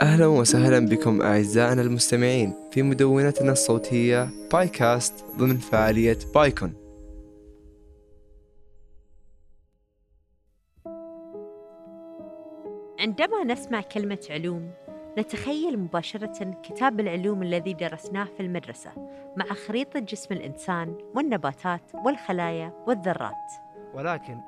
أهلا وسهلا بكم أعزائنا المستمعين في مدونتنا الصوتية بايكاست ضمن فعالية بايكون عندما نسمع كلمة علوم نتخيل مباشرة كتاب العلوم الذي درسناه في المدرسة مع خريطة جسم الإنسان والنباتات والخلايا والذرات ولكن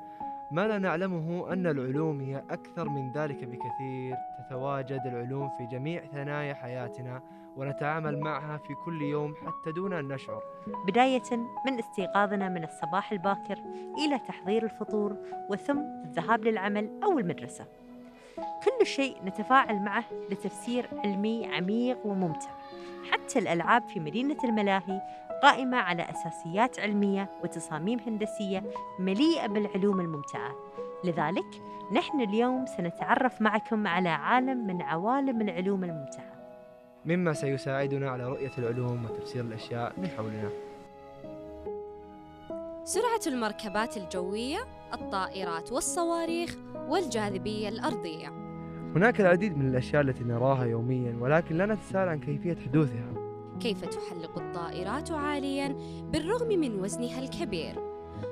ما لا نعلمه أن العلوم هي أكثر من ذلك بكثير تتواجد العلوم في جميع ثنايا حياتنا ونتعامل معها في كل يوم حتى دون أن نشعر بداية من استيقاظنا من الصباح الباكر إلى تحضير الفطور وثم الذهاب للعمل أو المدرسة كل شيء نتفاعل معه بتفسير علمي عميق وممتع حتى الألعاب في مدينة الملاهي قائمة على أساسيات علمية وتصاميم هندسية مليئة بالعلوم الممتعة لذلك نحن اليوم سنتعرف معكم على عالم من عوالم العلوم الممتعة مما سيساعدنا على رؤية العلوم وتفسير الأشياء من حولنا سرعة المركبات الجوية، الطائرات والصواريخ، والجاذبية الأرضية. هناك العديد من الأشياء التي نراها يوميا ولكن لا نتساءل عن كيفية حدوثها كيف تحلق الطائرات عالياً بالرغم من وزنها الكبير؟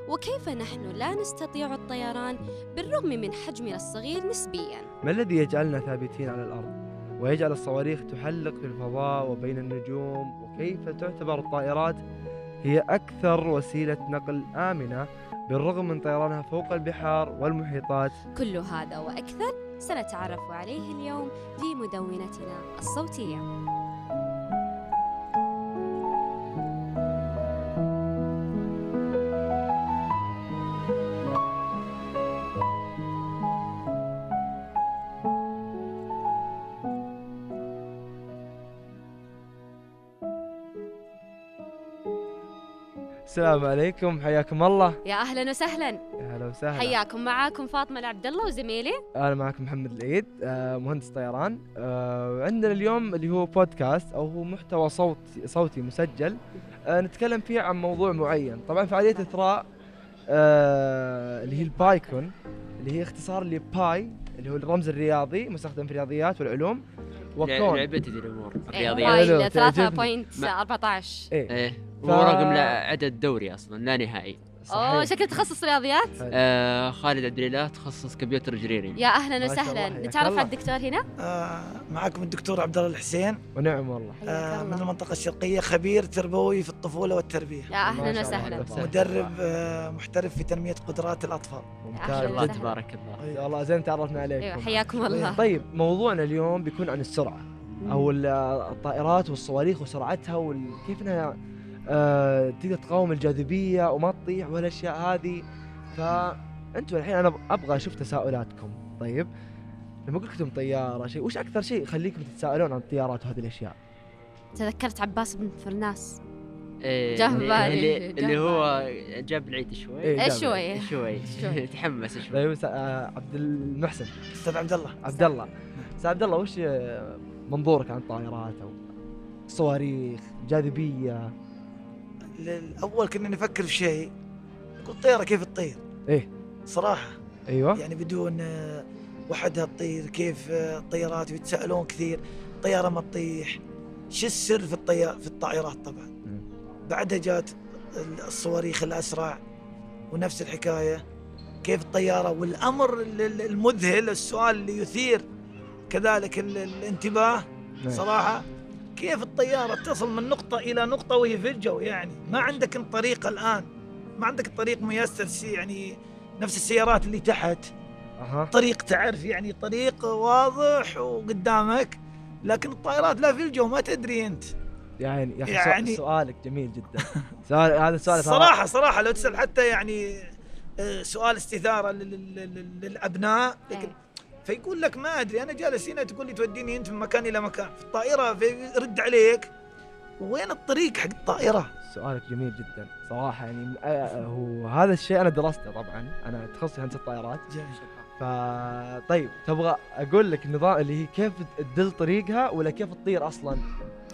وكيف نحن لا نستطيع الطيران بالرغم من حجمنا الصغير نسبياً؟ ما الذي يجعلنا ثابتين على الأرض ويجعل الصواريخ تحلق في الفضاء وبين النجوم وكيف تعتبر الطائرات هي أكثر وسيلة نقل آمنة بالرغم من طيرانها فوق البحار والمحيطات كل هذا وأكثر سنتعرف عليه اليوم في مدونتنا الصوتية. السلام عليكم حياكم الله يا أهلاً وسهلاً، يا هلا وسهلا حياكم معاكم فاطمة العبد الله وزميلي. انا معك محمد العيد آه، مهندس طيران آه، عندنا اليوم اللي هو بودكاست او هو محتوى صوتي صوتي مسجل آه، نتكلم فيه عن موضوع معين طبعا فعاليه اثراء آه، اللي هي البايكون اللي هي اختصار لباي اللي هو الرمز الرياضي مستخدم في الرياضيات والعلوم لع- وكون لعبتي ذي الامور إيه، باي. الرياضيات حلو، تعجبني. 3.14 ايه ايه ف- هو رقم لا عدد دوري اصلا لا نهائي اوه صحيح شكلك تخصص رياضيات آه خالد عبد الاله تخصص كمبيوتر جريري يا اهلا ما شاء وسهلا الله، حياك نتعرف الله. على الدكتور هنا آه، معكم الدكتور عبد الله الحسين ونعم والله آه، من المنطقة الشرقية خبير تربوي في الطفولة والتربية يا ما اهلا شاء الله، وسهلا أهلا وسهلا. مدرب آه، محترف في تنمية قدرات الأطفال أهلاً طيب. ممتاز وسهلاً. جد بارك الله جد. والله زين تعرفنا ايوه عليكم حياكم الله طيب موضوعنا اليوم بيكون عن السرعه او ال- الطائرات والصواريخ وسرعتها وكيف انها آه، تقدر تقاوم الجاذبيه وما تطيح والاشياء هذه فانتم الحين انا أب- ابغى اشوف تساؤلاتكم طيب لما قلت لكم طياره شيء وش اكثر شيء يخليكم تتساءلون عن الطيارات وهذه الاشياء تذكرت عباس بن فرناس إيه، جه اللي- بالي، اللي- جه اللي هو جاب العيد شوي إيه، ايش جاب شوي شوي. شوي تحمس شوي طيب س- آه، عبد المحسن أستاذ عبد الله عبد الله استاذ عبد الله وش آه، منظورك عن الطائرات او الصواريخ جاذبيه الأول كنا نفكر في شيء يقول طيارة كيف تطير إيه. صراحة ايوه يعني بدون آه، وحدها تطير كيف آه، الطيارات ويتساءلون كثير طيارة ما تطيح شو السر في الطيار في الطائرات طبعا بعدها جات الصواريخ الأسرع ونفس الحكاية كيف الطيارة والأمر ال- ال- المذهل السؤال اللي يثير كذلك ال- الانتباه نعم. صراحة كيف الطيارة تصل من نقطة إلى نقطة وهي في الجو يعني ما عندك الطريقة الآن ما عندك الطريق ميسر شي يعني نفس السيارات اللي تحت اها طريق تعرف يعني طريق واضح وقدامك لكن الطائرات لا في الجو ما تدري أنت يعني يا اخي يعني يعني- سؤالك جميل جدا سؤال هذا السؤال ترى- صراحة صراحة لو تسأل حتى يعني آه، سؤال استثارة لل- لل- لل- للأبناء لكن إيه. فيقول لك ما أدري أنا جالس هنا تقول لي توديني أنت من مكان إلى مكان في الطائرة في- رد عليك وين الطريق حق الطائرة؟ سؤالك جميل جدا صراحه يعني آه، آه، هو هذا الشيء انا درسته طبعا انا تخصصي هندسه طيارات ف طيب تبغى اقول لك النظام اللي هي كيف تدل طريقها ولا كيف تطير اصلا؟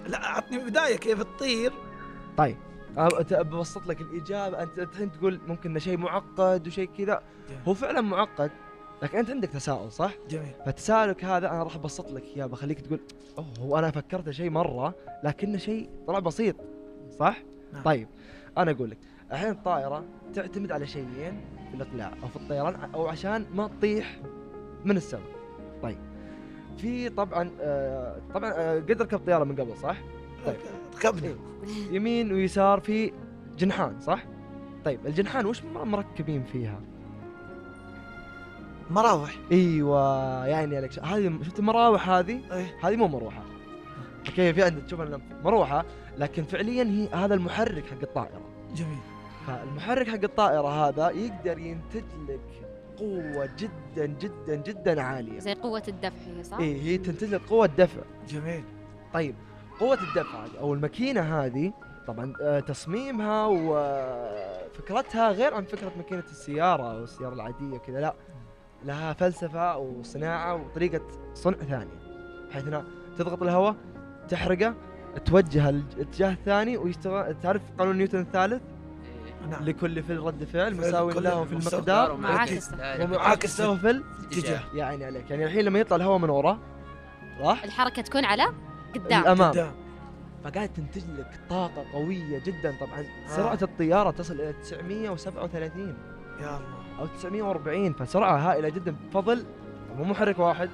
لا أعطني بداية كيف تطير أنا طيب، أت- ببسط لك الاجابه انت الحين تقول ممكن إنه شيء معقد وشيء كذا هو فعلا معقد لكن انت عندك تساؤل صح؟ جميل فتساؤلك هذا انا راح ابسط لك اياه بخليك تقول اوه هو انا فكرت شيء مره لكنه شيء طلع بسيط صح؟ نعم. طيب انا اقول لك الحين الطائره تعتمد على شيئين في الاقلاع او في الطيران او عشان ما تطيح من السماء. طيب في طبعا آه طبعا آه قد ركبت طياره من قبل صح؟ طيب. ركبنا يمين ويسار في جنحان صح؟ طيب الجنحان وش مركبين فيها؟ مراوح ايوه يعني يا لك ش- هذه شفت المراوح هذه؟ إيه. هذه مو مروحه اوكي في عندك تشوف اللمبة. مروحه لكن فعليا هي هذا المحرك حق الطائره جميل فالمحرك حق الطائره هذا يقدر ينتج لك قوه جدا جدا جدا عاليه زي قوة الدفع هي صح؟ اي إيه، هي تنتج لك قوه دفع جميل طيب قوة الدفع هذه أو الماكينة هذه طبعا آه، تصميمها وفكرتها غير عن فكرة ماكينة السيارة أو السيارة العادية كذا لا لها فلسفة وصناعة وطريقة صنع ثانية بحيث أنها تضغط الهواء تحرقه توجه الاتجاه الثاني ويشتغل تعرف قانون نيوتن الثالث إيه. نعم لكل فعل رد فعل فعل مساوي كل له في مساوي. المقدار ومعاكس ذلك ومعاكس له في ال- الاتجاه. يعني عليك يعني الحين لما يطلع الهواء من ورا راح الحركة تكون على قدام الأمام قدام فقاعد تنتج لك طاقة قوية جدا طبعا آه. سرعة الطيارة تصل إلى 937 يا الله أو 940 فسرعة هائلة جدا بفضل مو محرك واحد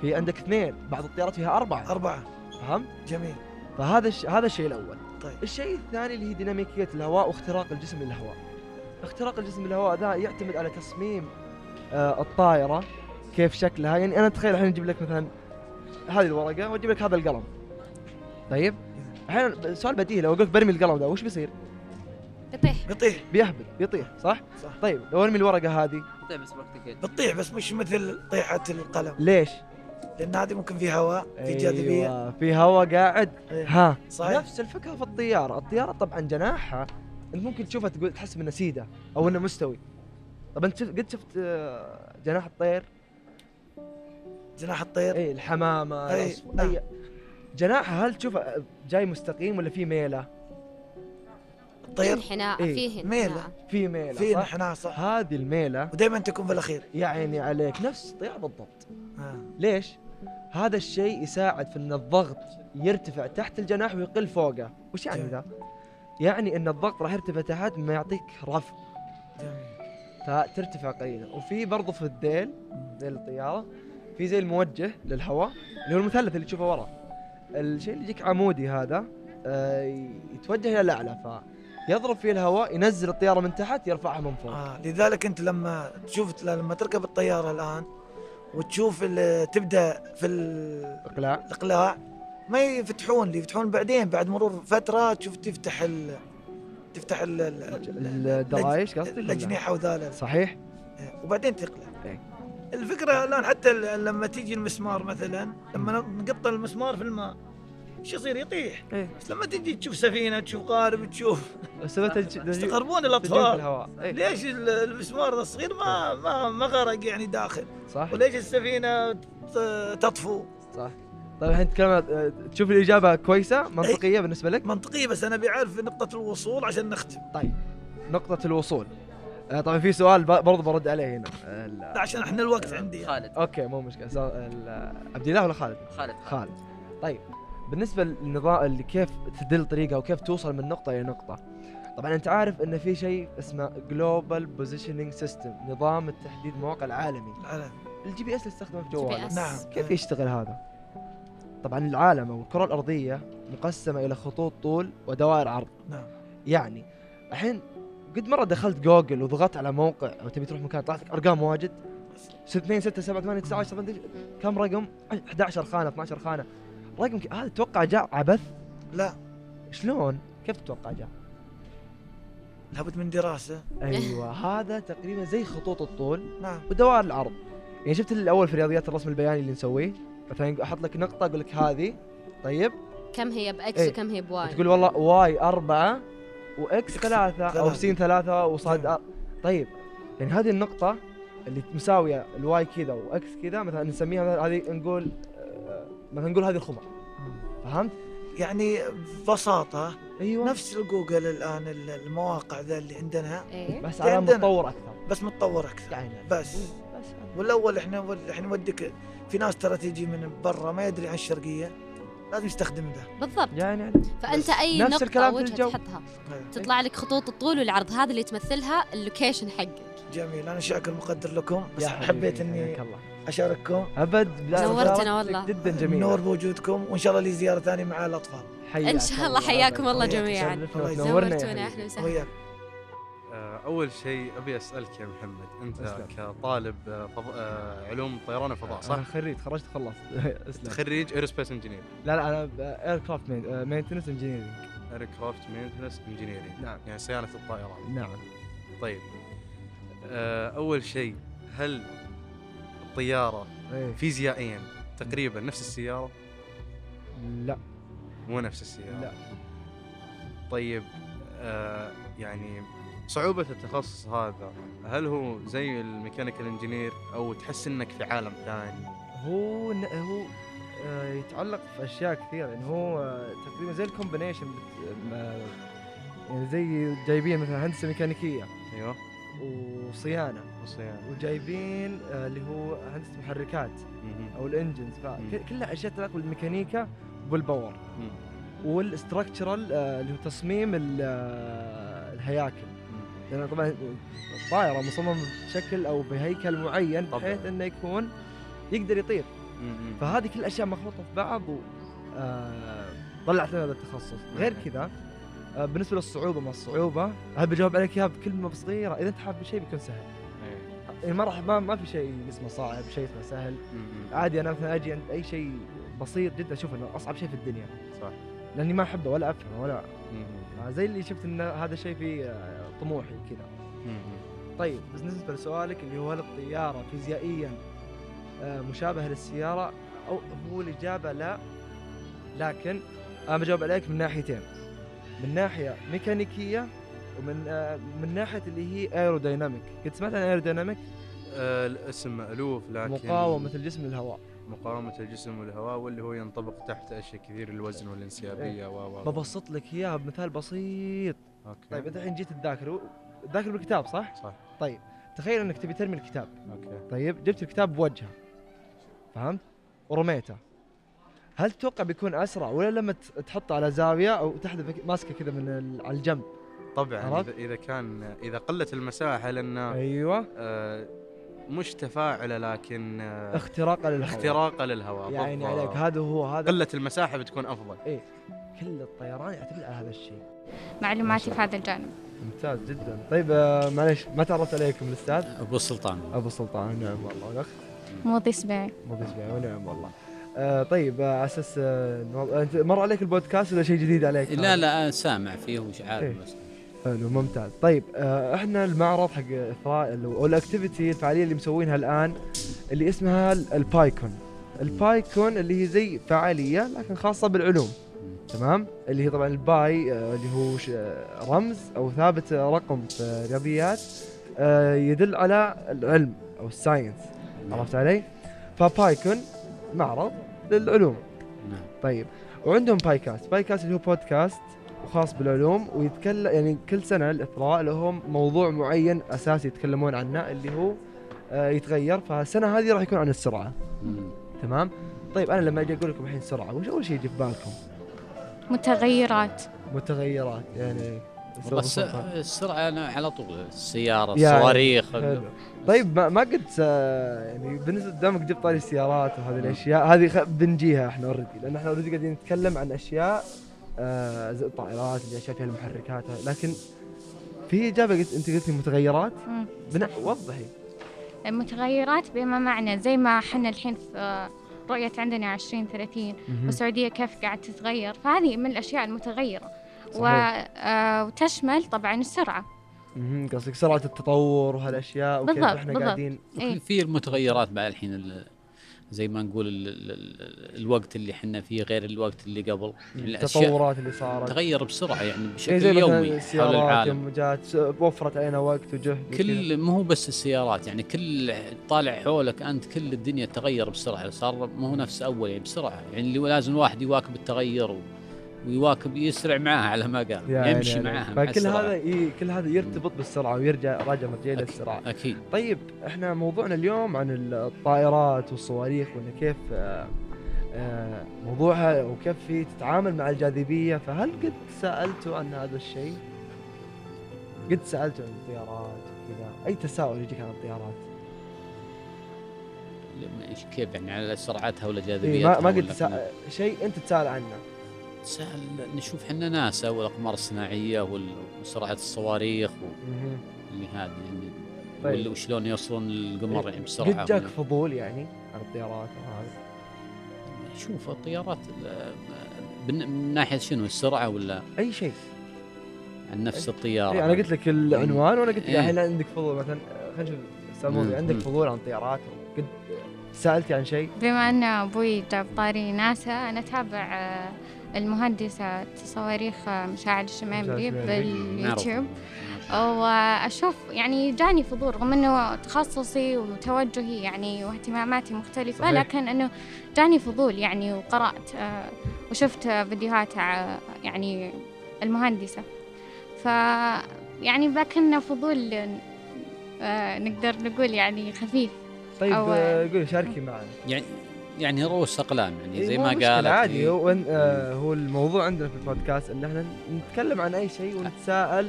في عندك اثنين بعض الطيارات فيها أربعة أربعة فهمت؟ جميل فهذا الش... هذا الشيء الأول طيب. الشيء الثاني اللي هي ديناميكية الهواء واختراق الجسم للهواء اختراق الجسم للهواء ذا يعتمد على تصميم آه الطائرة كيف شكلها يعني أنا أتخيل الحين أجيب لك مثلا هذه الورقة وأجيب لك هذا القلم طيب الحين سؤال بديهي لو قلت برمي القلم ذا وش بيصير؟ يطيح بيطيح بيهبل بيطيح صح؟ صح طيب لو ارمي الورقه هذه طيب بس وقتك بتطيح بس مش مثل طيحة القلم ليش؟ لأن هذه ممكن في هواء في جاذبية أيوة، في هواء قاعد إيه. ها صحيح نفس الفكره في الطياره، الطياره طبعا جناحها انت ممكن تشوفها تقول تحس انه سيده او انه مستوي. طب انت شفت- قد شفت آه، جناح الطير؟ إيه، جناح الطير اي الحمامه إيه، الأصف- نعم. اي جناحها هل تشوف جاي مستقيم ولا في ميله؟ الطير انحناء إيه. فيه ميلة. انحناء في ميله في إيه. صح؟ انحناء صح هذه الميله ودائما تكون في الأخير يعني عليك نفس الطياره بالضبط. آه. ليش؟ هذا الشيء يساعد في ان الضغط يرتفع تحت الجناح ويقل فوقه، وش يعني جميل. ذا؟ يعني ان الضغط راح يرتفع تحت ما يعطيك رفع جميل فترتفع قليلا، وفي برضه في الذيل ذيل الطياره في زي الموجه للهواء اللي هو المثلث اللي تشوفه ورا. الشيء اللي يجيك عمودي هذا آه، يتوجه الى الاعلى فيضرب فيه الهواء ينزل الطياره من تحت يرفعها من فوق. آه. لذلك أنت لما تشوف لما تركب الطيارة الآن وتشوف ال- تبدأ في ال- اقلاع الاقلاع ما يفتحون اللي يفتحون بعدين بعد مرور فتره تشوف تفتح ال تفتح ال ال- الدرايش قصدك ولا؟ الاجنحه وذا صحيح؟ وبعدين تقلع إيه. الفكره الان حتى ال- لما تيجي المسمار مثلا لما نقطع المسمار في الماء ايش يصير يطيح إيه. بس لما تجي تشوف سفينه تشوف قارب تشوف سبب تج- تج- يقربون تجوف الاطفال الهواء إيه، ليش ال- المسمار الصغير ما ما ما غرق يعني داخل صح؟ وليش السفينه ت- تطفو صح طيب الحين تتكلم آه، تشوف الاجابه كويسه منطقيه بالنسبه لك منطقيه بس انا بعرف نقطه الوصول عشان نختم نقطه الوصول آه، طبعا في سؤال ب- برضه برد عليه هنا آه، ال- لا عشان احنا الوقت إيه. عندي خالد اوكي مو مشكله سؤال- ال- عبد الله ولا خالد خالد خالد طيب بالنسبه للنظام اللي كيف تدل طريقه وكيف توصل من نقطه الى نقطه طبعا انت عارف ان في شيء اسمه جلوبال بوزيشننج سيستم نظام التحديد مواقع العالمي على- الجي بي اس اللي استخدمه في جي جواله بي اس نعم كيف يشتغل هذا؟ طبعا العالم او الكره الارضيه مقسمه الى خطوط طول ودوائر عرض. نعم. يعني الحين قد مره دخلت جوجل وضغطت على موقع او تبي تروح مكان طلعت لك ارقام واجد 2 6 7 8 19 17 كم رقم؟ 11 خانه 12 خانه رقم ك- هذا تتوقع جاء عبث؟ لا. شلون؟ كيف تتوقع جاء؟ لابد من دراسه ايوه هذا تقريبا زي خطوط الطول نعم ودوائر العرض يعني شفت الاول في رياضيات الرسم البياني اللي نسويه مثلا احط لك نقطه اقول لك هذه طيب كم هي بإكس إيه. وكم هي بواي تقول والله واي أربعة وإكس إكس ثلاثة أو ثلاثة. سين ثلاثة وصاد نعم. أر... طيب يعني هذه النقطة اللي مساوية الواي كذا وإكس كذا مثلا نسميها مثلا هذه نقول آه، مثلا نقول هذه الخمر فهمت؟ يعني ببساطه ايوه نفس الجوجل الان ال- المواقع ذا اللي عندنا إيه. بس على عندنا. متطور أكثر بس متطور اكثر يعني بس بس والاول احنا ول- احنا نوديك في ناس ترى تجي من برا ما يدري عن الشرقيه لازم يستخدم ذا بالضبط يعني فانت اي نفس نقطه الكلام في وجهه الجو. تحطها هذا. تطلع لك خطوط الطول والعرض هذا اللي تمثلها اللوكيشن حقك جميل انا شاكر مقدر لكم بس يا حبيت حبيبي، اني حياك الله اشارككم ابد لا نورتنا زيارتك والله. جدا نور جميله بوجودكم وان شاء الله لي زياره ثانيه مع الاطفال حياك إن شاء الله، حياكم الله جميعاً. الله نورنا يا زورتونا حبيبي. اهلا وسهلا وياك آه، أول شيء أبي أسألك يا محمد أنت أسلم. كطالب آه، فض- آه، علوم طيران وفضاء صح؟ انا خريج تخرجت خلصت اسلم خريج ايروسبيس انجينير لا آه، لا انا اير كرافت مينتنس انجينيرنج ايركرافت مينتنس انجينيرنج نعم. يعني صيانة الطائرات نعم طيب آه، أول شيء هل الطيارة إيه. فيزيائيا تقريبا نفس السيارة لا مو نفس السيارة لا. طيب آه، يعني صعوبة التخصص هذا هل هو زي الميكانيكال انجينير أو تحس إنك في عالم ثاني؟ هو ن- هو آه، يتعلق في اشياء كثيره يعني هو آه، تقريبا زي الكومبينيشن بت- آه، يعني زي جايبين مثلا هندسه ميكانيكيه أيوه وصيانه بص يعني وجايبين آه، اللي هو هندسه محركات مهم. او الانجنز مم. فكلها اشياء تتعلق بالميكانيكا وبالباور مم. والاستراكشرال آه، اللي هو تصميم ال- آه، الهياكل مم. لان طبعا الطائره مصممه بشكل او بهيكل معين طبعاً. بحيث انه يكون يقدر يطير مم. فهذه كل الاشياء مخلوطه في بعض و آه، طلعت لنا هذا التخصص غير كذا آه، بالنسبه للصعوبه ما الصعوبه هل بجاوب عليك اياها بكلمه صغيره اذا انت حاب شيء بيكون سهل إيه. يعني ما راح ما, ما في شيء اسمه صعب شيء اسمه سهل مم. عادي انا مثلا اجي عند اي شيء بسيط جدا اشوف انه اصعب شيء في الدنيا صح لاني ما احبه ولا افهمه ولا مم. آه، زي اللي شفت ان هذا الشيء في آه، طموحي كذا مم. طيب بالنسبه لسؤالك اللي هو هل الطياره فيزيائيا آه، مشابهه للسياره او هو الاجابه لا لكن انا بجاوب عليك من ناحيتين من ناحيه ميكانيكيه ومن آه، من ناحيه اللي هي ايرودايناميك قد سمعت عن ايرودايناميك آه، الاسم مألوف لكن مقاومه الجسم للهواء مقاومة الجسم والهواء واللي هو ينطبق تحت أشياء كثير الوزن إيه. والانسيابية و و ببسط لك اياها بمثال بسيط أوكي طيب انت الحين جيت تذاكر تذاكر بالكتاب صح صح تخيل انك تبي ترمي الكتاب أوكي طيب جبت الكتاب بوجهه فهمت ورميته هل تتوقع بيكون اسرع ولا لما ت- تحطه على زاويه او تحذف ماسكه كذا من ال- على الجنب طبعا عرفت؟ إذا, إذا كان إذا قلت المساحة لأن ايوه آه، مش تفاعلة لكن آه، اختراقا للهواء اختراقا للهواء يا عيني بالضبط. يعني عليك هذا هو هذا قلة المساحة بتكون أفضل كل الطيران يعتمد على هذا الشيء معلوماتي في هذا الجانب ممتاز جدا طيب آه، معليش ما تعرفت عليكم الاستاذ ابو السلطان ابو سلطان نعم والله والاخ موضي إصبعي مو بسمع ونعم والله آه طيب آه، على اساس آه، نوض- أنت مر عليك البودكاست ولا شيء جديد عليك؟ لا لا أنا سامع فيه ومش عارف إيه. بس حلو ممتاز طيب آه، احنا المعرض حق اثراء ال- او الاكتيفيتي الفعاليه اللي مسوينها الان اللي اسمها ال- البايكون البايكون اللي هي زي فعاليه لكن خاصه بالعلوم تمام اللي هي طبعا الباي آه، اللي هو ش- آه، رمز او ثابت آه، رقم في الرياضيات آه، يدل على العلم او الساينس نعم. عرفت علي فبايكون معرض للعلوم نعم طيب وعندهم بايكاست بايكاست اللي هو بودكاست وخاص بالعلوم ويتكلم يعني كل سنه الاثراء لهم موضوع معين اساسي يتكلمون عنه اللي هو آه، يتغير فالسنه هذه راح يكون عن السرعه مم. تمام طيب انا لما اجي اقول لكم الحين سرعه وش اول شيء يجي في بالكم متغيرات متغيرات يعني بس السرعه انا على طول السياره يعني، الصواريخ حلو. طيب ما, ما قد آه، يعني بالنسبه دامك جبت طاري السيارات وهذه الاشياء هذه خ- بنجيها احنا اوريدي لان احنا اوريدي قاعدين نتكلم عن اشياء آه، زي الطائرات اللي اشياء فيها المحركات لكن في اجابه قلت انت قلت لي متغيرات مم. بنا وضحي المتغيرات بما معنى زي ما احنا الحين في رؤية عندنا 2030 والسعودية كيف قاعد تتغير فهذه من الأشياء المتغيرة و... صحيح. آه، وتشمل طبعا السرعة مهم. قصدك سرعه التطور وهالاشياء وكيف بالضبط، احنا بالضبط. قاعدين إيه. وكل في المتغيرات بعد الحين ال- زي ما نقول ال ال ال الوقت اللي احنا فيه غير الوقت اللي قبل يعني الاشياء التطورات اللي صارت تغير بسرعه يعني إيه، بشكل يومي حول السيارات العالم يوم جات س- وفرت علينا وقت وجهد وكذا. كل مو بس السيارات يعني كل طالع حولك انت كل الدنيا يعني تغير بسرعه صار مو نفس اول يعني بسرعه يعني اللي لازم الواحد يواكب التغير و ويواكب يسرع معاها على ما قال يا عيني يمشي عليك. معاها مع يعني فكل السرعة. هذا إيه كل هذا يرتبط بالسرعه ويرجع راجع مرجعي أكيد. للسرعه اكيد طيب احنا موضوعنا اليوم عن الطائرات والصواريخ وان كيف آه، آه، موضوعها وكيف في تتعامل مع الجاذبيه فهل قد سالتوا عن هذا الشيء؟ قد سالتوا عن الطيارات وكذا اي تساؤل يجيك عن الطيارات؟ لما- إيش- كيف يعني على سرعتها ولا إيه جاذبيتها ما ما ولا قد تسا... شيء انت تسال عنه سأل نشوف احنا ناسا والاقمار الصناعيه وال- وسرعه الصواريخ مهم. واللي هذه يعني طيب. وال- وشلون يوصلون القمر يعني بسرعه قد جاك ولا- فضول يعني عن الطيارات وهذا شوف الطيارات آه، من من ناحيه شنو السرعه ولا اي شيء عن نفس الطياره إيه انا قلت لك العنوان وانا قلت لك إيه. الحين عندك فضول مثلا خلينا نشوف ساموري مم. عندك مم. فضول عن الطيارات قد سالتي عن شيء؟ بما أن أبوي جاب طاري ناسا أنا أتابع آه، المهندسة صواريخ آه، مشاعل مشاعل الشمامري. الشمامري معروف. باليوتيوب وأشوف يعني جاني فضول رغم أنه تخصصي وتوجهي يعني واهتماماتي مختلفة صحيح. لكن أنه جاني فضول يعني وقرأت آه، وشفت آه، فيديوهات آه، يعني المهندسة ف يعني لكن فضول آه، نقدر نقول يعني خفيف طيب أو- آه، قولي شاركي معنا يعني يعني رؤوس اقلام يعني زي مو ما مشكلة، قالت عادي إيه. هو إن- آه، هو الموضوع عندنا في البودكاست ان احنا نتكلم عن اي شيء ونتساءل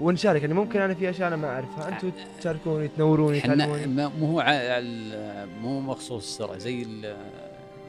ونشارك يعني ممكن انا في اشياء انا ما اعرفها انتم تشاركوني تنوروني احنا تعلموني ما- مو هو ع- ال- مو مخصوص السرعه زي ال-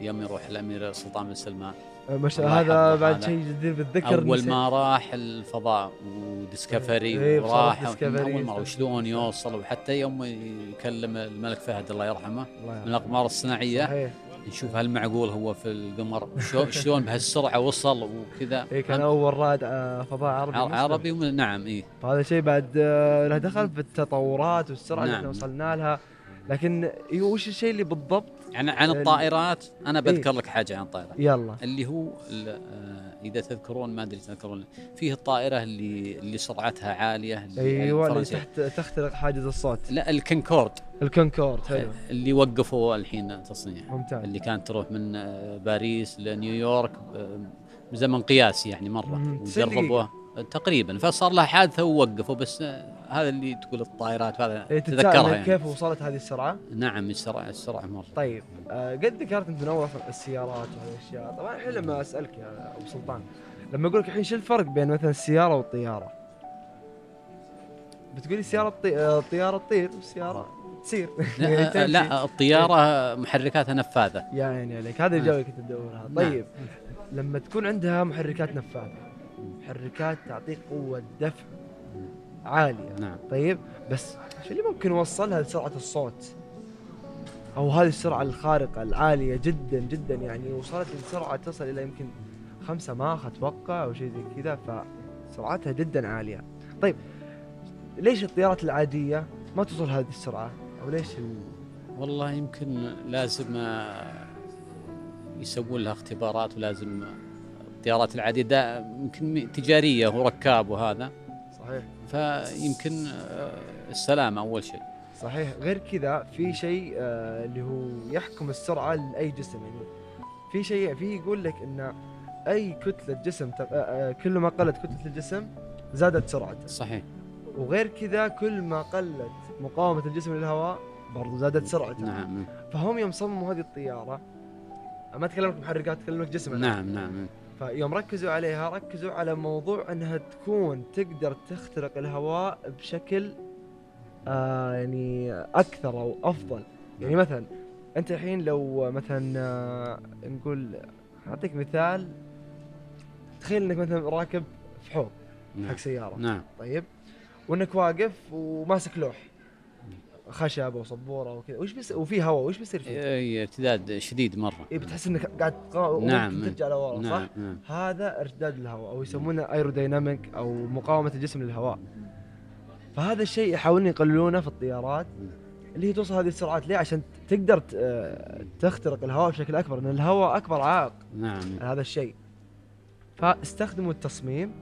يوم يروح الامير سلطان بن سلمان آه، مش الله هذا يحفظه بعد هذا. شيء جديد بالذكر اول ما راح الفضاء وديسكفري إيه، بصراحة وراح ديسكفري اول مره صح. وشلون يوصل وحتى يوم يكلم الملك فهد الله يرحمه من الله الاقمار الصناعيه صحيح نشوف هل معقول هو في القمر شلون- شلون بهالسرعه وصل وكذا إيه كان اول رائد آه، فضاء عربي عر- مسلم. عربي ومن- نعم اي فهذا شيء بعد آه، له دخل في التطورات والسرعه اللي نعم. احنا وصلنا لها لكن إيه، وش الشيء اللي بالضبط عن عن ال- الطائرات انا إيه. بذكر لك حاجه عن الطائرات يلا اللي هو ال- آه، اذا تذكرون ما ادري تذكرون فيه الطائره اللي اللي سرعتها عاليه اللي ايوه اللي الفرنسية. تحت تخترق حاجز الصوت لا الكنكورد الكونكورد حلو اللي وقفوا الحين تصنيعها ممتاز اللي كانت تروح من آه، باريس لنيويورك آه، بزمن قياسي يعني مم، مره تسعين وجربوه تقريبا فصار لها حادثه ووقفوا بس آه، هذا اللي تقول الطائرات هذا إيه، تذكرها تتساءل يعني. كيف وصلت هذه السرعه نعم السرعه السرعه مره طيب آه، قد ذكرت انت من اول أصلاً السيارات والاشياء طبعا الحين لما اسالك يا ابو سلطان لما اقول لك الحين شو الفرق بين مثلا السياره والطياره بتقولي السياره الطي... آه، الطياره تطير والسياره تسير يعني لا, آه، تمشي. لا الطياره محركاتها نفاذه يا عيني عليك هذا الجو اللي كنت ادورها طيب آه. نعم. لما تكون عندها محركات نفاذه محركات تعطيك قوه دفع عاليه نعم طيب بس شو اللي ممكن يوصلها لسرعه الصوت او هذه السرعه الخارقه العاليه جدا جدا يعني وصلت لسرعه تصل الى يمكن خمسة ماخ اتوقع او شيء زي كذا فسرعتها جدا عاليه طيب ليش الطيارات العاديه ما توصل هذه السرعه او ليش ال... والله يمكن لازم آه، يسوون لها اختبارات ولازم الطيارات العاديه دا- يمكن تجاريه وركاب وهذا صحيح فيمكن آه، السلامه اول شيء صحيح غير كذا في شيء آه، اللي هو يحكم السرعه لاي جسم يعني في شيء في يقول لك ان اي كتله جسم ت- آه، آه، كل ما قلت كتله الجسم زادت سرعته صحيح وغير كذا كل ما قلت مقاومه الجسم للهواء برضو زادت سرعته نعم فهم يوم صمموا هذه الطياره ما اتكلم لك محركات اتكلم لك جسم الآن. نعم نعم فيوم ركزوا عليها ركزوا على موضوع انها تكون تقدر تخترق الهواء بشكل آه يعني اكثر او افضل يعني نعم. مثلا انت الحين لو مثلا آه نقول اعطيك مثال تخيل انك مثلا راكب في حوض حق نعم سياره نعم طيب وانك واقف وماسك لوح خشب وسبوره وكذا وش بيصير وفي هواء وش بيصير فيه؟ أي ارتداد شديد مره إيه بتحس انك قاعد تقا... نعم. وممكن ترجع لورا صح؟ نعم نعم هذا ارتداد الهواء او يسمونه ايروديناميك او مقاومه الجسم للهواء فهذا الشيء يحاولون يقللونه في الطيارات اللي هي توصل هذه السرعات ليه عشان تقدر ت- آه، تخترق الهواء بشكل اكبر لان الهواء اكبر عائق نعم على هذا الشيء فاستخدموا التصميم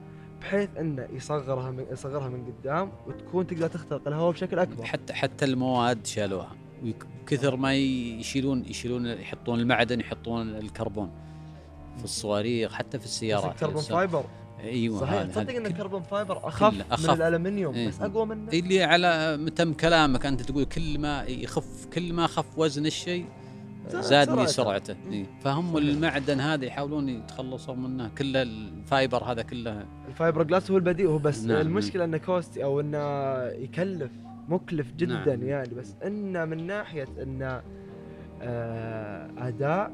بحيث انه يصغرها من يصغرها من قدام وتكون تقدر تخترق الهواء بشكل اكبر حتى حتى المواد شالوها وكثر ما يشيلون يشيلون يحطون المعدن يحطون الكربون في الصواريخ حتى في السيارات كربون نفسها. فايبر ايوه صحيح هذا- هذا تصدق ان كل- الكربون فايبر اخف, أخف. من الالمنيوم إيه. بس اقوى منه اللي على تم كلامك انت تقول كل ما يخف كل ما خف وزن الشيء زاد من سرعته. سرعته إيه. فهم المعدن هذا يحاولون يتخلصون منه كله الفايبر هذا كله الفايبر جلاس هو البديل هو بس نعم. نعم. المشكله انه كوستي او انه يكلف مكلف جدا نعم. نعم. يعني بس انه من ناحيه انه آه اداء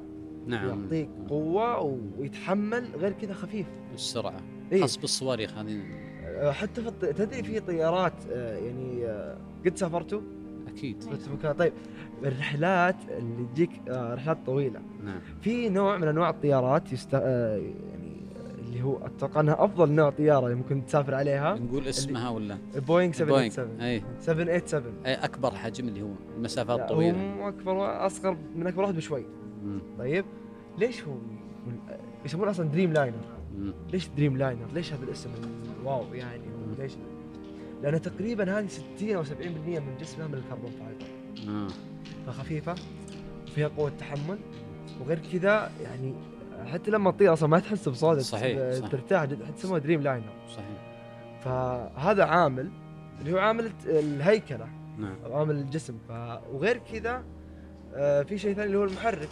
نعم يعطيك قوه ويتحمل غير كذا خفيف السرعه إيه. خاص بالصواريخ هذه آه، حتى في الط... تدري في طيارات آه، يعني آه، قد سافرتوا نعم. اكيد سافرتوا في مكان طيب الرحلات اللي تجيك آه، رحلات طويله نعم في نوع من انواع الطيارات يست... آه، يعني اللي هو اتوقع انها افضل نوع طياره اللي ممكن تسافر عليها نقول اسمها ولا بوينغ بوينغ 787 اي 787 أي اكبر حجم اللي هو المسافات لا، هو الطويله مو اكبر وا- اصغر من اكبر واحد بشوي مم. طيب ليش هو من- يسمونه اصلا دريم لاينر مم. ليش دريم لاينر ليش هذا الاسم الواو يعني ليش لانه تقريبا هذه 60 او 70% من جسمها من الكربون فايبر آه. فخفيفه فيها قوه تحمل وغير كذا يعني حتى لما تطير اصلا ما تحس بصوت صحيح، تس- صح. ترتاح جدا تسموها دريم لاينر صحيح فهذا عامل اللي هو عامل الت- الهيكله نعم او عامل الجسم ف... وغير كذا آه، في شيء ثاني اللي هو المحرك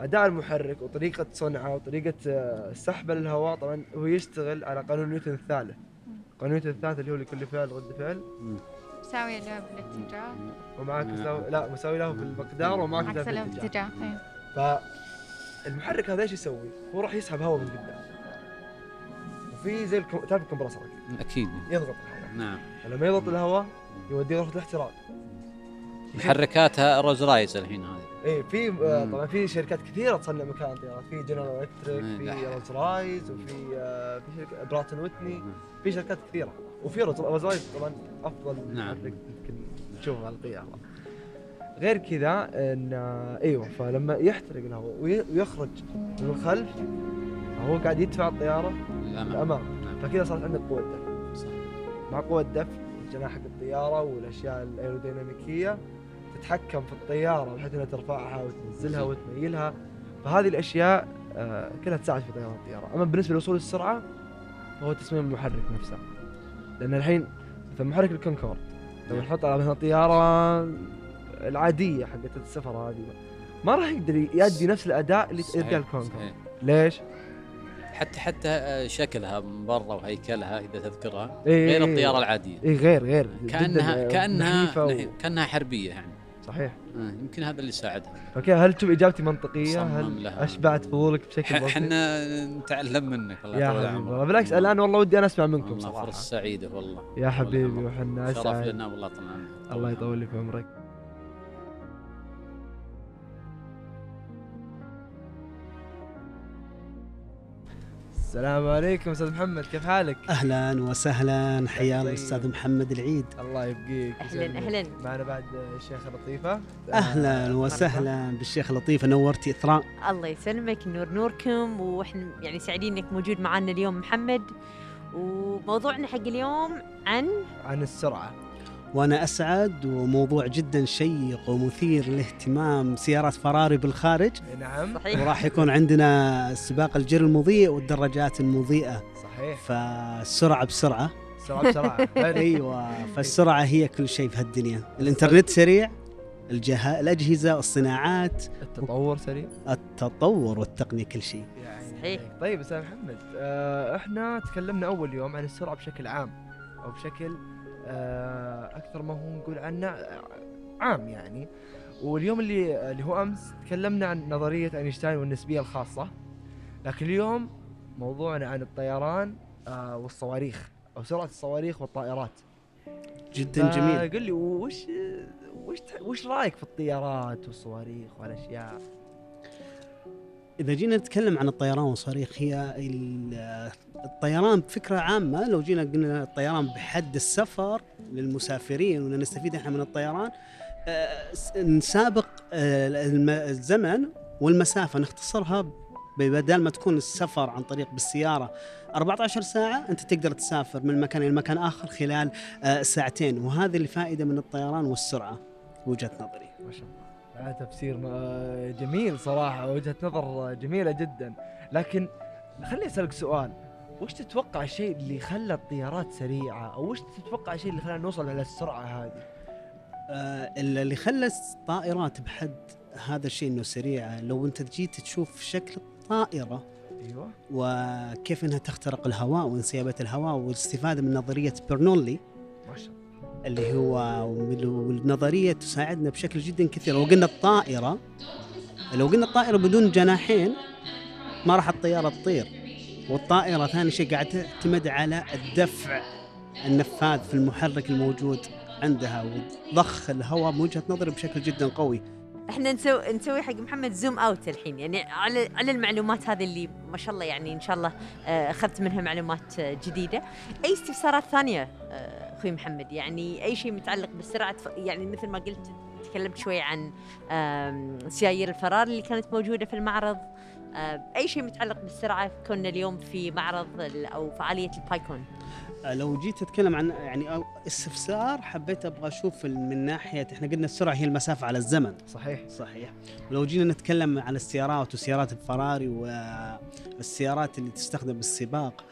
اداء المحرك وطريقه صنعه وطريقه آه، سحبه للهواء طبعا هو يشتغل على قانون نيوتن الثالث قانون نيوتن الثالث اللي هو لكل فعل رد فعل مساوية له بالاتجاه ومعاك نعم. مساوي لا مساوي له في المقدار ومعاك عكس ذا في الاتجاه الاتجاه إيه. فالمحرك هذا ايش يسوي؟ هو راح يسحب هواء من قدام وفي زي الكم... تعرف الكمبرسر اكيد يضغط الهواء نعم فلما يضغط الهواء يوديه غرفه الاحتراق إيه. محركاتها روز رايز الحين هذه ايه في آه، مم. طبعا في شركات كثيره تصنع مكان طيارات في جنرال الكتريك مم. في لا. روز رايز وفي آه، في شركه براتن ويتني مم. في شركات كثيره وفي روز روز رايز طبعا افضل نعم. محرك يمكن تشوفه على القيامه غير كذا ان آه، ايوه فلما يحترق الهواء وي- ويخرج من الخلف هو قاعد يدفع الطياره للأمام. للامام نعم. فكذا صارت عندك قوه دفع صح. مع قوة دفع الجناح حق الطيارة والأشياء الأيروديناميكية تتحكم في الطيارة بحيث أنها ترفعها وتنزلها وتميلها فهذه الأشياء آه، كلها تساعد في طيران الطيارة أما بالنسبة لوصول السرعة فهو تصميم المحرك نفسه لأن الحين مثلا محرك الكونكورد لما نعم. نحط على مثلا الطيارة العادية حقت السفر هذه ما راح يقدر يؤدي نفس الأداء اللي صحيح، يديه الكونكورد صحيح. ليش؟ حتى حتى آه، شكلها من برا وهيكلها اذا تذكرها إيه، غير إيه، الطياره العاديه إيه غير غير كانها جداً آه، كانها نحيفة و- نعم، كانها حربيه يعني صحيح آه، يمكن هذا اللي ساعدها اوكي هل تشوف اجابتي منطقيه؟ صمم هل لها. اشبعت فضولك بشكل بسيط؟ احنا نتعلم منك الله يا يطول حبيبي عمرك والله بالعكس الان والله ودي انا اسمع منكم والله صراحه فرصه سعيده والله يا حبيبي والله. وحنا شرف اسعد لنا والله طبعا الله يطول لي في عمرك السلام عليكم استاذ محمد كيف حالك؟ اهلا وسهلا حيا الله استاذ محمد العيد الله يبقيك أهلاً، أهلاً. معنا بعد آه، الشيخه لطيفه اهلا وسهلا بالشيخ لطيف نورتي اثراء الله يسلمك نور نوركم واحنا يعني سعيدين انك موجود معنا اليوم محمد وموضوعنا حق اليوم عن عن السرعه وانا اسعد وموضوع جدا شيق ومثير للاهتمام سيارات فراري بالخارج نعم صحيح وراح يكون عندنا سباق الجير المضيء والدراجات المضيئه صحيح فالسرعه بسرعه سرعه بسرعه ايوه فالسرعه هي كل شيء في هالدنيا الانترنت سريع الجه... الاجهزه الصناعات التطور سريع التطور والتقنيه كل شيء يعني. صحيح. طيب استاذ محمد آه، احنا تكلمنا اول يوم عن السرعه بشكل عام او بشكل آه، اكثر ما هو نقول عنه آه، عام يعني واليوم اللي اللي هو امس تكلمنا عن نظريه اينشتاين والنسبيه الخاصه لكن اليوم موضوعنا عن الطيران آه، والصواريخ او سرعه الصواريخ والطائرات آه، جدا جميل قل لي وش وش وش رايك في الطيارات والصواريخ والاشياء إذا جينا نتكلم عن الطيران والصواريخ هي ال- الطيران بفكرة عامة لو جينا قلنا الطيران بحد السفر للمسافرين وإن نستفيد إحنا من الطيران آه، س- نسابق آه، الم- الزمن والمسافة نختصرها ب- بدل ما تكون السفر عن طريق بالسيارة 14 ساعة أنت تقدر تسافر من مكان إلى مكان آخر خلال آه، ساعتين وهذه الفائدة من الطيران والسرعة وجهة نظري ما شاء الله آه، تفسير ما- جميل صراحة وجهة نظر جميلة جدا لكن خليني أسألك سؤال وش تتوقع الشيء اللي خلى الطيارات سريعة أو وش تتوقع الشيء اللي خلانا نوصل على السرعة هذه آه، اللي خلى الطائرات بحد هذا الشيء انه سريعه لو انت جيت تشوف شكل الطائره أيوة وكيف انها تخترق الهواء وانسيابيه الهواء والاستفاده من نظريه برنولي ما شاء الله اللي هو والنظريه تساعدنا بشكل جدا كثير لو قلنا الطائره لو قلنا الطائره بدون جناحين ما راح الطياره تطير والطائره ثاني شيء قاعده تعتمد على الدفع النفاذ في المحرك الموجود عندها وضخ الهواء بوجهه نظري بشكل جدا قوي احنا نسوي نسوي حق محمد زوم اوت الحين يعني على على المعلومات هذه اللي ما شاء الله يعني ان شاء الله آه، اخذت منها معلومات آه، جديده اي استفسارات ثانيه آه، اخوي محمد يعني اي شيء متعلق بالسرعه تف- يعني مثل ما قلت تكلمت شوي عن آم، سيايير الفرار اللي كانت موجوده في المعرض آه، اي شيء متعلق بالسرعه كنا اليوم في معرض ال- او فعاليه البايكون لو جيت اتكلم عن يعني أو- استفسار حبيت ابغى اشوف من ناحيه احنا قلنا السرعه هي المسافه على الزمن صحيح صحيح ولو جينا نتكلم عن السيارات وسيارات الفراري والسيارات اللي تستخدم بالسباق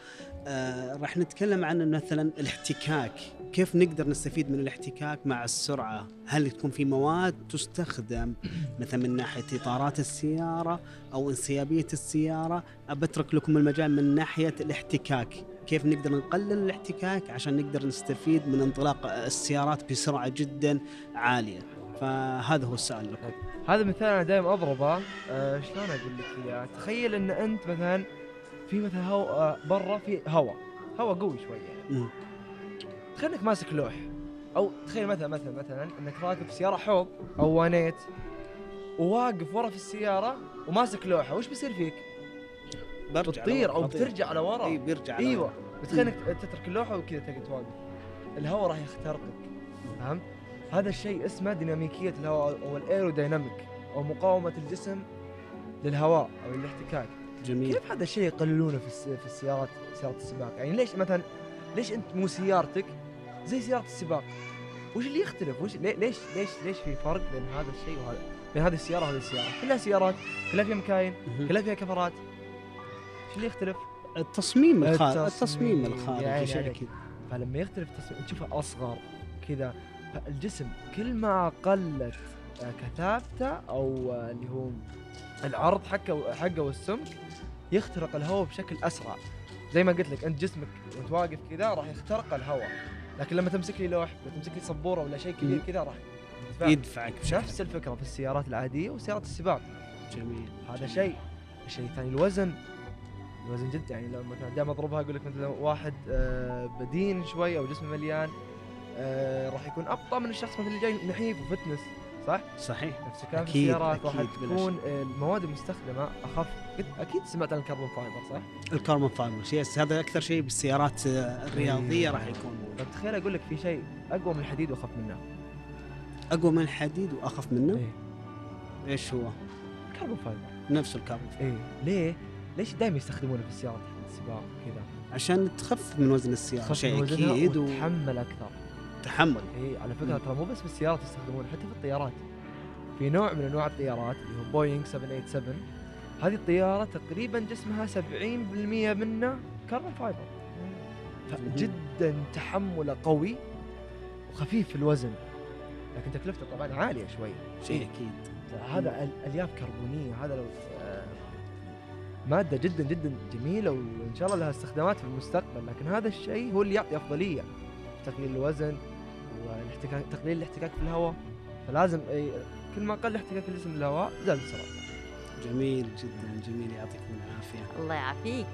آه، راح نتكلم عن مثلا الاحتكاك كيف نقدر نستفيد من الاحتكاك مع السرعة هل تكون في مواد تستخدم مثلا من ناحية إطارات السيارة أو انسيابية السيارة أترك لكم المجال من ناحية الاحتكاك كيف نقدر نقلل الاحتكاك عشان نقدر نستفيد من انطلاق السيارات بسرعة جدا عالية فهذا هو السؤال لكم هذا مثال أنا دائما أضربه آه، شلون أقول لك إياه تخيل أن أنت مثلا في مثلا هو آه، برا في هواء هواء قوي شوية يعني مم. تخيل انك ماسك لوح او تخيل مثلا مثلا مثلا انك راكب في سياره حوض او وانيت وواقف ورا في السياره وماسك لوحه وش بيصير فيك؟ برجع بتطير لورا، إيه. او بطير. بترجع لورا اي بيرجع لورا. ايوه بتخيل انك تترك اللوحه وكذا تقعد واقف الهواء راح يخترقك فهمت؟ هذا الشيء اسمه ديناميكيه الهواء او الايروديناميك او مقاومه الجسم للهواء او الاحتكاك جميل كيف هذا الشيء يقللونه في الس- في السيارات سيارات السباق؟ يعني ليش مثلا ليش انت مو سيارتك زي سياره السباق؟ وش اللي يختلف؟ وش لي- ليش ليش ليش في فرق بين هذا الشيء وهذا بين هذه السياره وهذه السياره؟ كلها سيارات، كلها فيها مكاين، مهم. كلها فيها كفرات. وش اللي يختلف؟ التصميم الخارج التصميم. التصميم الخارجي يعني شيء عليك. اكيد فلما يختلف التصميم تشوفه اصغر كذا فالجسم كل ما قلت آه، كثافته او آه، اللي هو العرض حقه حقه والسمك يخترق الهواء بشكل اسرع زي ما قلت لك انت جسمك وانت واقف كذا راح يخترق الهواء لكن لما تمسك لي لوح ولا تمسك لي سبوره ولا شيء كبير مم. إيه، كذا راح يدفع. يدفعك بشكل نفس الفكره في السيارات العاديه وسيارات السباق جميل هذا شيء الشيء الثاني الوزن الوزن جدا يعني لو مثلا دائما اضربها اقول لك مثلا واحد آه، بدين شوي او جسمه مليان آه، راح يكون ابطا من الشخص مثلا اللي جاي نحيف وفتنس صح؟ صحيح نفس الكلام في أكيد، السيارات راح أكيد، بلا تكون آه، المواد المستخدمه اخف اكيد سمعت عن الكربون فايبر صح؟ الكاربون فايبر شيء هذا اكثر شيء بالسيارات آه، الرياضيه أيوة. راح يكون موجود. طب تخيل اقول لك في شيء اقوى من الحديد واخف منه إيه. اقوى من الحديد واخف منه أيوة. ايش هو؟ الكربون فايبر نفس الكاربون فايبر. ايه ليه؟ ليش دائما يستخدمونه في السيارات حق السباق وكذا؟ عشان تخفف من وزن السياره تخفف يعني شيء من وزنها اكيد وتحمل اكثر وتحمل اي على فكره مم. ترى مو بس في السيارات يستخدمون حتى في الطيارات في نوع من انواع الطيارات اللي هو بوينغ 787 هذه الطياره تقريبا جسمها 70% منه كربون فايبر فجدا تحمله قوي وخفيف في الوزن لكن تكلفته طبعا عاليه شوي شيء اكيد هذا ال- الياف كربونيه هذا لو آه، ماده جدا جدا جميله وان شاء الله لها استخدامات في المستقبل لكن هذا الشيء هو اللي يعطي افضليه في تقليل الوزن والاحتكاك تقليل الاحتكاك في الهواء فلازم أي- كل ما قل احتكاك الجسم للهواء زاد السرعه جميل جدا جميل يعطيكم العافيه الله يعافيك